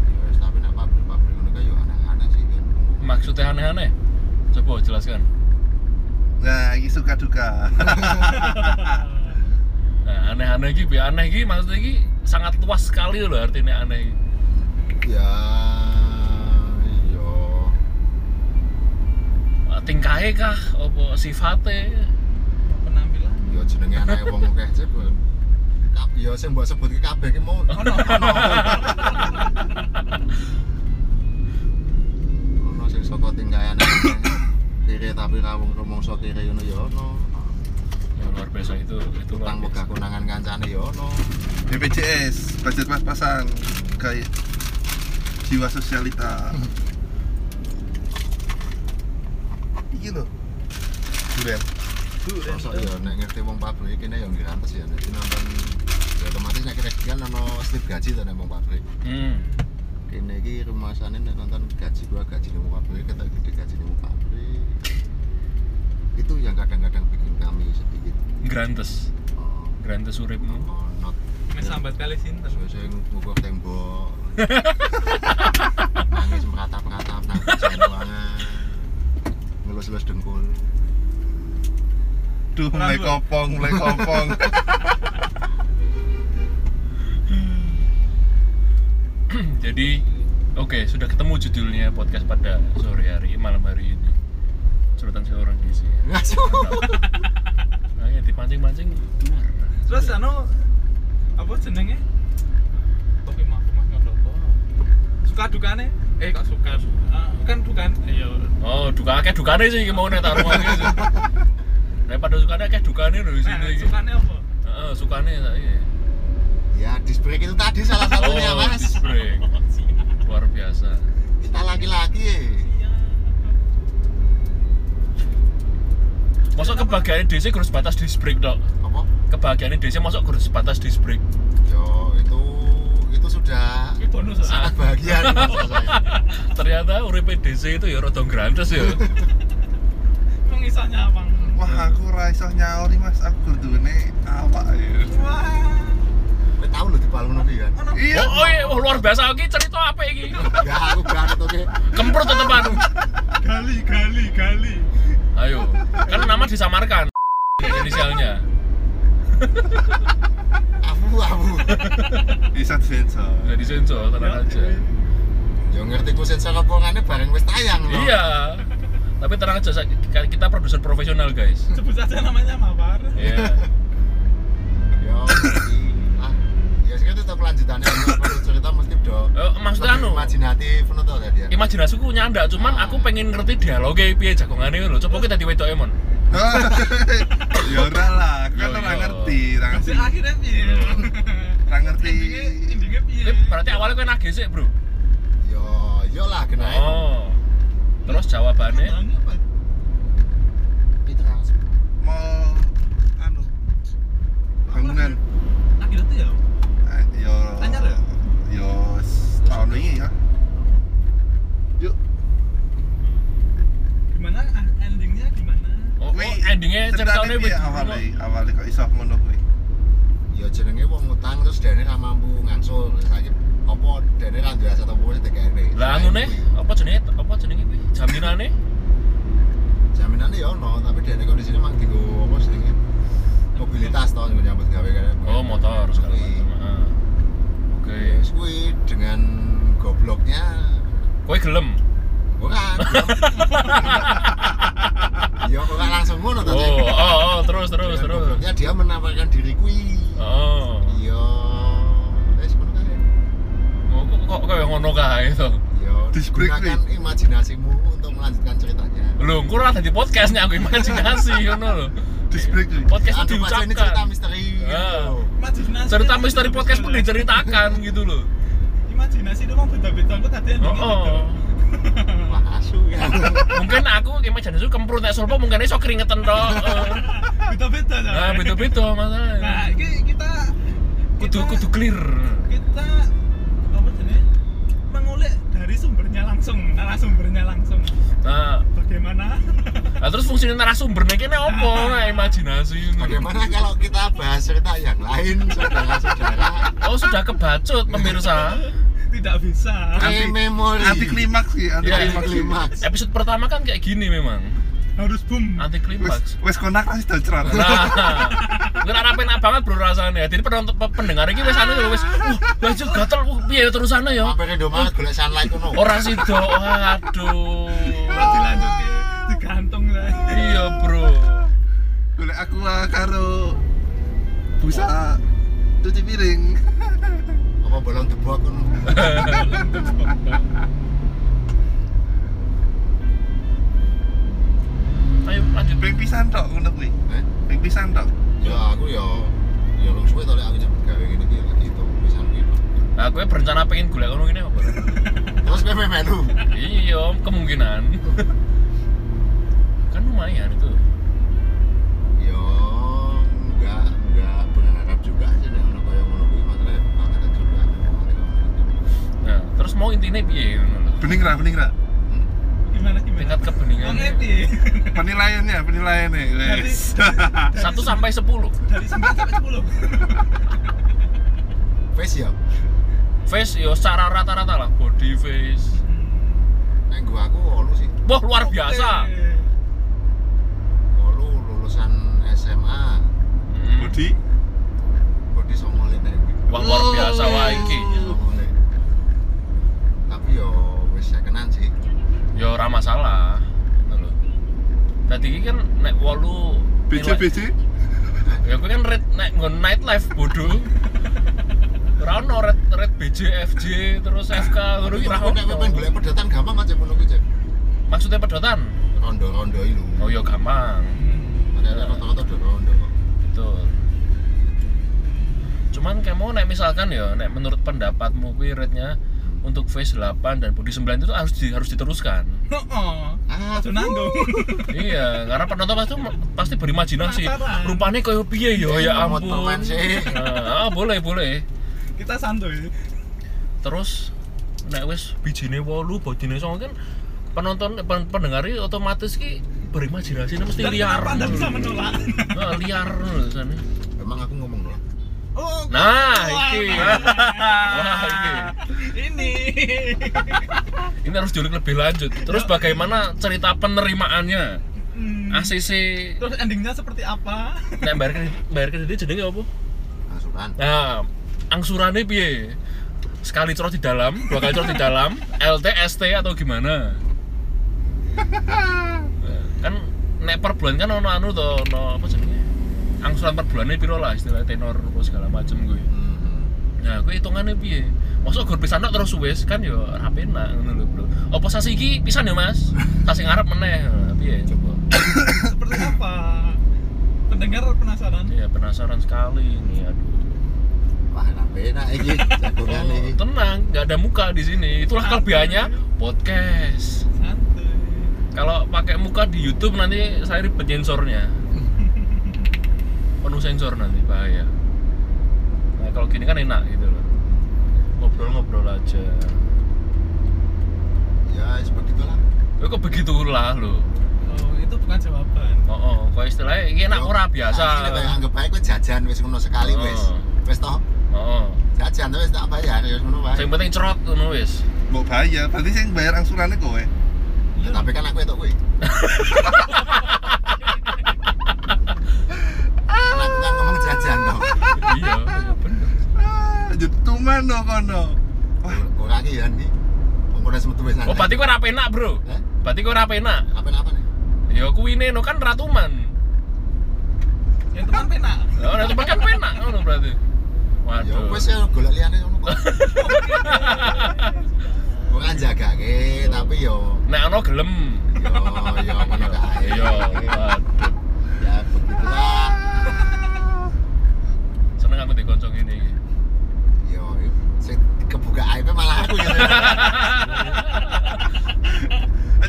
D: Ya wis tapi nek pabrik-pabrik ngono kae yo aneh-aneh sih kan.
A: Maksudnya aneh-aneh. Coba jelaskan.
B: Nah, ini suka duka.
A: Nah, aneh-aneh iki piye? aneh iki maksudnya iki sangat luas sekali loh artinya aneh. iki.
D: Ya yo
A: Tingkahe kah opo sifate?
C: penampilan
D: yo jenenge aneh wong akeh jeb. Kap- Yo sing mbok sebut ki kabeh ki mau ono ono. Ono sing saka tingkae aneh. Kiri tapi rawung rumangsa kiri ngono yo ono.
A: Ya, luar biasa itu itu luar
D: utang
A: biasa.
D: megah konangan kancane ya ono.
B: BPJS, budget pas-pasan, kayak jiwa sosialita. Iki loh. Duren.
D: Sosok ya nek ngerti wong pabrik kene ya ngrantes ya nek nonton ya otomatis nek kira-kira ono slip gaji to nek wong pabrik.
A: Hmm.
D: Kene iki rumasane nek nonton gaji gua gaji wong pabrik ketok gede gaji wong pabrik. Itu yang kadang-kadang bikin kami sedikit
A: Grantes.
D: oh,
A: Grantes uripmu.
D: oh, not
C: ini sambat kali sinter
D: sesuai saya ngukur tembok. nangis meratap-ratap nangis ruangan ngelus-ngelus dengkul
B: Duh, mulai
C: Rambut.
B: kopong, mulai kopong.
A: Jadi oke, sudah ketemu judulnya podcast pada sore hari malam hari ini. Cerutan seorang gizi. Nah, ya dipancing-pancing keluar.
C: terus anu apa jenenge tapi mah mah apa suka dukane eh kok suka Ah, kan dukan iya
A: Oh, duka akeh dukane sih iki mau nek tak rumah iki. Nek pada sukane akeh dukane lho di sini
C: nah
A: iki.
C: sukane apa
A: Heeh, sukane saiki.
D: ya display itu tadi salah satunya
A: Oh,
D: mas
A: disc brake. Luar biasa.
D: kita laki-laki ya.
A: Masuk kebahagiaan DC kurus batas disc brake dok.
D: apa
A: Kebahagiaan DC masuk kurus batas disc brake.
D: yo itu itu sudah
C: ini bonus ah
D: sangat bahagia nih, maksud saya.
A: Ternyata uripe DC itu ya rodong grandes ya.
C: emang isahnya abang
B: Wah, aku ra iso nyauri Mas, aku gurdune awak ya.
C: wah
D: Kowe tahu loh di Palembang iki kan
C: ono
B: Iya.
A: Oh, oh, iya, oh, luar biasa iki cerita apa iki?
D: ya aku berani tuh
A: Kempur tetepan.
C: gali gali gali
A: Ayo, kan nama disamarkan inisialnya.
D: Abu abu.
B: bisa disensor
A: Udah disensor, tenang aja.
D: Yo ngerti ku sensor omongannya bareng wis tayang loh.
A: Iya. Tapi tenang aja, saya- kita produser profesional guys.
C: Sebut saja namanya Mawar.
A: Iya.
D: Yo. mesti. Ah, ya sih tetap lanjutannya kalau cerita mesti do.
A: Eh, maksudnya anu,
D: Imajinatif ngono to tadi.
A: imajinasiku nyanda, cuman
D: Ah.
A: aku pengen ngerti dialoge piye jagongane lho. Coba kita diwedoke mon.
B: ya ora lah aku kan
A: Yo,
B: ora
A: yo.
B: ngerti ora ngerti
C: Masih akhirnya piye?
B: ora ngerti
C: Endingnya endingnya
A: Oh.
C: piye?
D: Iya.
A: Tapi berarti awalnya kowe nagih sih, Bro.
D: Yo, yo lah kenae.
A: Oh. Terus
D: Iya.
A: jawabannya
C: Tanya apa?
D: Piteras.
B: mall anu bangunan
C: Akhirnya tuh ya.
B: eh, yo
C: Anyar ya?
B: yo s- tahun ini ya yuk
C: Gimana ah, endingnya gimana?
A: Oh, oh, endingnya ceritanya
B: piye
A: wis
B: awale awale kok iso ngono kuwi
D: Yo jenenge wong ngutang terus dene ra mampu ngangsul. Saiki apa dene ra duwe aset apa wis dikene.
A: Lah ngene apa jenenge apa jenenge kuwi? Jaminane?
D: Jaminane yo ono, tapi dene kok di sini mang digo apa jenenge? Mobilitas to nyambut gawe kan.
A: Oh, motor segala
D: Kuwi.
A: macam. Ah. Oke.
D: Ya, wis kuwi dengan gobloknya
A: Kowe gelem.
D: Bukan. ya kok nggak langsung ngono to.
A: Oh,
D: Cek?
A: oh, oh, terus terus
D: Dengan
A: terus.
D: gobloknya dia menampakkan diri kuwi.
A: Oh.
D: Iya. Wis ngono kan? kae.
A: Oh, kok kok kayak ngono kae to.
D: Ya,
B: Dis break,
D: gunakan imajinasimu untuk melanjutkan ceritanya.
A: Lho, engko ora dadi podcast nek aku imajinasi ngono lho.
B: Dis break, Ri.
A: Podcast
D: Jangan
A: itu
D: lupa, Anu, ini cerita
A: diucapkan.
D: misteri.
A: Ah.
D: gitu.
C: Imajinasi.
A: Cerita misteri podcast pun diceritakan gitu loh.
C: Imajinasi itu emang beda-beda kok tadi
A: Oh,
C: endingnya
A: oh.
C: gitu.
D: Wah, asu ya.
A: Mungkin aku imajinasi kemprut nek sulpa mungkin iso keringetan tok.
C: Beda-beda
A: Eh, Nah, beda-beda
C: Nah, gitu.
A: masalahnya.
C: iki kita
A: Kudu
C: kita-
A: kudu clear.
C: kita apa jenis mengulik dari sumbernya langsung narasumbernya langsung
A: Nah,
C: bagaimana
A: Nah, terus fungsi narasumber nih kene apa? Nah, imajinasi.
D: Bagaimana kalau kita bahas cerita yang lain, saudara-saudara?
A: Oh, sudah kebacut pemirsa.
C: tidak bisa
A: Ah,
D: Re memori.
B: anti klimaks sih anti
A: Iya,
B: klimaks sih.
D: Klimaks.
A: Episode pertama kan kayak gini memang.
C: harus boom
A: Anti
B: wes
A: klimaks.
B: wes konak wis doceran
A: Nah, gue rapi banget bro rasanya. Jadi penonton pe- pendengar ini wes anu lho, wes, wah, lanjut gatel, wah, piye terusannya ya?
D: Apa redo banget golek sunlight ngono.
A: Orang sido, aduh.
C: Kalau dilanjuti digantung lah
A: Iya bro.
B: golek aku lah karo busa cuci piring
D: Apa kan? bolong debu aku ngono.
A: Ayo lanjut.
B: ping pisan tok ngono kuwi
D: Eh?
B: ping pisan tok
D: Ya aku ya ya lu suwe to lek aku nyambut gawe ngene iki lagi itu pisan kuwi lho.
A: Nah, gue berencana pengen gula ngono gini apa?
D: Terus kowe melu.
A: Iya, kemungkinan. Kan lumayan itu.
D: Ya enggak enggak berharap juga aja nek ono kaya ngono kuwi masalah ya bakal tetep juga.
A: Nah, terus mau intinya piye ngono lho.
B: bening ra bening ra
C: gimana gimana
A: Tingkat kebeningan.
C: Oke, piye?
B: penilaiannya penilaiannya
C: dari
B: wes
A: Satu sampai sepuluh.
C: dari 9 sampai 10
D: Wes ya
A: Face yo secara rata-rata lah body face.
D: nek gua aku olu sih.
A: Wah, luar biasa.
C: Oke.
D: Olu lulusan SMA
A: Hmm.
B: body
D: body somole nek kuwi.
A: Wah, luar biasa wah iki.
D: Somole. Tapi ya, yo wis sekenan sih.
A: Yo ora masalah. Ngono lho. Tadi iki kan nek wolu
B: BC
A: nilai-
B: BC
A: Ya gue kan red nek nggon nightlife bodoh. Ora ono red red BJ FJ terus FK ngono
D: Tapi
A: iki ra
D: nek kowe pengen
A: ono.
D: golek pedotan gampang aja ngono kuwi, Cek.
A: Maksudnya pedotan?
D: Rondo-rondo iki lho.
A: Oh yo gampang.
D: Ada rata-rata do rondo kok.
A: Betul. Cuman kamu nek misalkan ya, nek menurut pendapatmu kuwi rate-nya untuk face 8 dan body 9 itu harus di- harus diteruskan.
C: Oh,
D: Ah,
C: aduh nanggung
A: iya, karena penonton pasti pasti berimajinasi.
C: Penasaran.
A: Rupanya koyo piye ya, ya
D: Ngemot
A: ampun.
D: teman Iya, sih.
A: Nah, ah, boleh, boleh.
C: kita santuy
A: Terus nek wis bijine 8, bodine 9 kan penonton pen- pendengar ini otomatis ki berimajinasi mesti
C: dan
A: liar.
C: kenapa anda bisa menolak
A: Nah, liar lho,
D: Emang aku ngomong loh.
C: oh
A: Nah,
C: Wah,
A: iki. Wah, iki.
C: ini
A: Ini harus diulik lebih lanjut. Terus bagaimana cerita penerimaannya?
C: Mm.
A: ACC
C: Terus endingnya seperti apa?
A: nek bayar kredit bayar kredit jenenge apa?
D: asuran
A: Nah, angsurannya piye? Sekali curhat di dalam, dua kali curhat di dalam, LT, ST atau gimana? Nah, kan nek per bulan kan ono anu to, ono apa jenenge? Angsuran per bulannya piro lah istilah tenor apa segala macem gue.
D: Hmm.
A: Nah, gue hitungannya piye? Masuk gur pisan tok terus suwes kan yo ora penak ngono lho, Bro. Apa sasi iki pisan ya, Mas? Sasi ngarep meneh. Nah, piye coba?
C: seperti apa? Pendengar penasaran?
A: Ya penasaran sekali ini aduh.
D: wah enak enak ini jagongan
A: Oh,
D: ini
A: tenang, nggak ada muka di sini. Itulah kelebihannya podcast.
C: Santai.
A: Kalau pakai muka di YouTube nanti saya ribet sensornya. Penuh sensor nanti bahaya. Nah, kalau gini kan enak gitu loh. Ngobrol-ngobrol aja.
D: ya sebegitulah
A: Ya, kok begitulah lo.
C: Oh, itu bukan jawaban.
A: Oh, oh, kok istilahnya ini enak
D: Yo,
A: ora biasa.
D: saat ini kayak anggap baik wes jajan wes ngono sekali wes
A: Oh.
D: wes toh
A: Oh, oh.
D: jajan tapi wes tak bayar ya wes ngono wae.
A: Yang penting cerot ngono wis.
B: mau bayar berarti saya yang bayar angsurannya kowe
D: Ya, tapi kan aku itu kuwi Kan aku kan ngomong jajan toh
A: Iya, iya bener.
B: ah jetuman no kono
D: kurang iki ya iki umurnya semetu wes
A: Oh, berarti kok ora penak, Bro.
D: Hah?
A: Berarti kok ora penak.
D: apa-apa nih
A: Ya kuwine no kan ratuman.
C: Ya itu kan pena.
A: Oh, nah, temen kan penak ngono berarti.
D: ya
A: Waduh.
D: wes ya golek liyane ngono kok Bukan jaga tapi yo
A: Nek Nah, ono gelem.
D: yo yo ngono kae.
A: Iya, waduh.
D: Ya begitulah.
A: Seneng aku dikoncong ini. iki.
D: Yo sing kebuka aib malah aku gitu.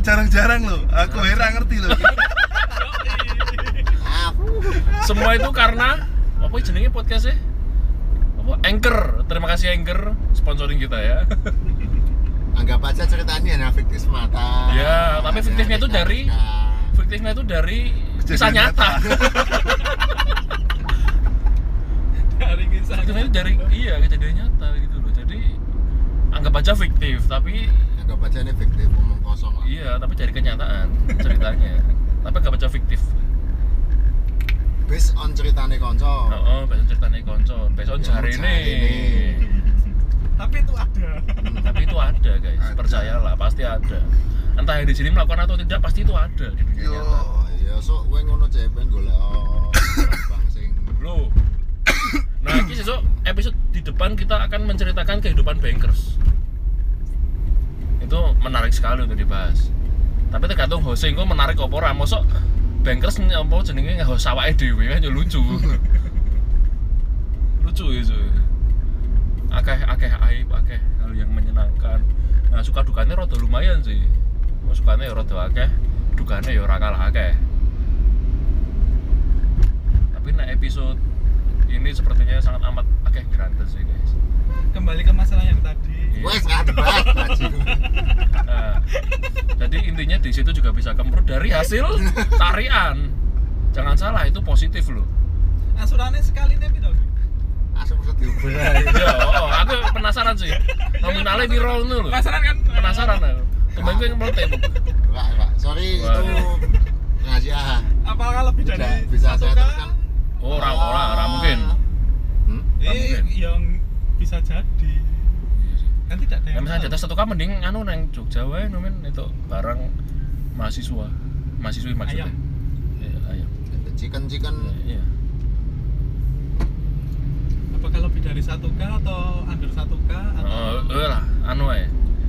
B: jarang-jarang loh aku heran ngerti loh
D: Ah, fuh.
A: Semua itu karena apa jenenge podcastnya? Apa Anchor. Terima kasih Anchor sponsoring kita ya.
D: anggap aja ceritanya hanya fiktif semata.
A: Ya, tapi fiktifnya itu dari- Fiktifnya itu dari kisah
B: Kejadian
A: nyata.
C: Dari kisah.
A: Fiktifnya itu dari iya kejadian nyata gitu loh. Jadi anggap aja fiktif tapi
D: anggap aja ini fiktif omong kosong lah.
A: iya tapi dari kenyataan ceritanya. tapi anggap aja fiktif.
D: Based on ceritanya konco.
A: Oh, oh based on ceritanya konco, based on
D: Ya,
A: jarene.
D: jarene.
C: Tapi itu ada.
A: tapi itu ada guys
B: Ada.
A: percayalah pasti ada entah yang di sini melakukan atau tidak pasti itu ada di dunia
B: Yo.
A: nyata
D: Oh, iya so gue ngono cepen golek oh, bang sing
A: lo nah ini besok episode di depan kita akan menceritakan kehidupan bankers itu menarik sekali untuk dibahas tapi tergantung hosting kok menarik apa ora mosok bankers apa jenenge nge-host awake dhewe kan ya lucu lucu itu akeh akeh aib akeh hal yang menyenangkan nah suka dukanya rada lumayan sih Oh, sukanya ya rada akeh dukanya ya ora kalah akeh tapi nah episode ini sepertinya sangat amat akeh gratis sih guys
C: Kembali ke masalah yang tadi.
A: Iya.
D: gue nggak ada bahas baju.
A: Nah, jadi intinya di situ juga bisa kemprut dari hasil tarian jangan salah itu positif loh
C: Asuransi sekali nih, Bro.
D: Asal bisa diubah.
A: ya oh, aku penasaran sih nominalnya viral itu loh
C: Penasaran kan?
A: penasaran aku kemarin gue yang meletek Bu.
D: Pak, Pak. Sorry itu
A: Waduh.
D: rahasia.
C: Apakah lebih dari
D: Bisa- bisa
C: satu
D: saya
C: kah?
D: teruskan?
A: oh ora ora
D: Ah.
A: ora mungkin
D: Hmm?
A: Nggak
C: Eh,
A: mungkin.
C: yang bisa jadi.
A: Iya sih.
C: Kan tidak ada
A: ya
C: yang.
A: misalnya
C: tahu.
A: jatah satu kan mending anu neng Jogja wae nomin itu barang mahasiswa mahasiswi maksudnya
C: Ayam.
A: Iya, ayam
D: Chicken chicken
A: iya
C: Apakah lebih dari satu k atau under satu k
A: Eh,
C: atau?
A: eh lah anu wae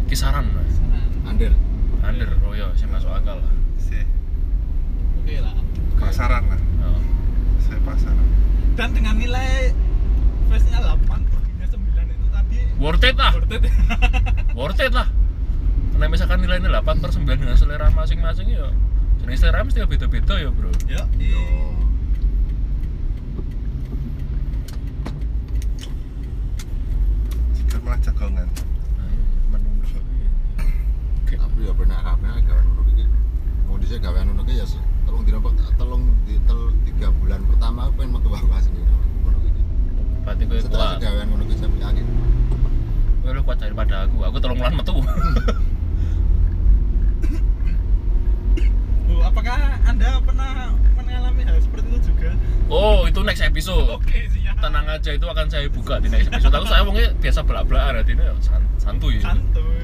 A: kisaran wae
C: Kisaran.
D: under.
A: under oh iya sih masuk akal lah
B: sih
C: Oke lah.
B: pasaran lah
A: Oh.
B: saya pasaran
C: Dan dengan nilai face-nya 8, bodinya 9 itu tadi
A: worth it lah
C: worth it.
A: worth it lah karena misalkan nilainya 8 per 9 dengan selera masing-masing ya jenis selera mesti beda-beda ya bro
C: Yo.
D: Yo.
B: Sikil malah jagongan
A: nah, iya, menunggu
D: Tapi ya benar rame gawean ngono iki. Mau dhisik gawean ngono iki ya se- telung dina per- telung di tel- tiga bulan pertama aku pengen metu aku sendiri ngono iki.
A: berarti gue
D: Setelah
A: kuat
D: gawean ngono iki sampe akhir.
A: gue lebih kuat daripada aku aku tolong lan metu
C: Bu, apakah anda pernah mengalami hal seperti itu juga
A: Oh, itu next episode.
C: oke siap
A: Tenang aja itu akan saya buka di next episode. Aku saya wongnya biasa belak-belakan artinya ya san- santuy.
C: santuy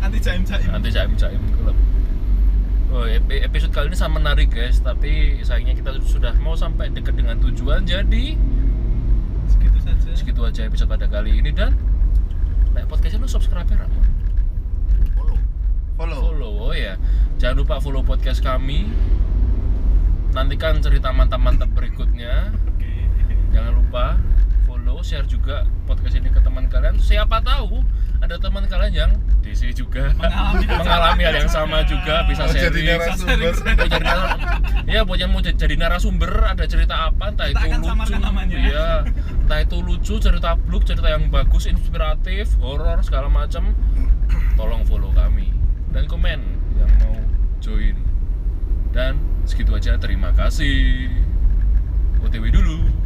C: anti jaim jaim
A: Nanti jaim-jaim gelap. Oh, ep- episode kali ini sangat menarik guys, tapi sayangnya kita sudah mau sampai dekat dengan tujuan. Jadi,
C: segitu saja
A: segitu aja episode pada kali ini dan Nek podcastnya lu subscribe ya, Ramon?
D: follow
B: follow
A: follow oh ya jangan lupa follow podcast kami nantikan cerita mantap-mantap berikutnya
C: oke
A: jangan lupa follow share juga podcast ini ke teman kalian siapa tahu ada teman kalian yang DC juga
C: Mengalami hal
A: mengalami hal yang
C: sama
A: sama juga bisa
B: Mau jadi
A: sharing
B: narasumber
A: Mau jadi nar- ya buat yang mau j- jadi narasumber ada cerita apa entah
C: Kita
A: itu
C: akan
A: lucu
C: samarkan namanya.
A: ya entah itu lucu cerita blog cerita yang bagus inspiratif horor segala macam tolong follow kami dan komen yang mau join dan segitu aja terima kasih OTW dulu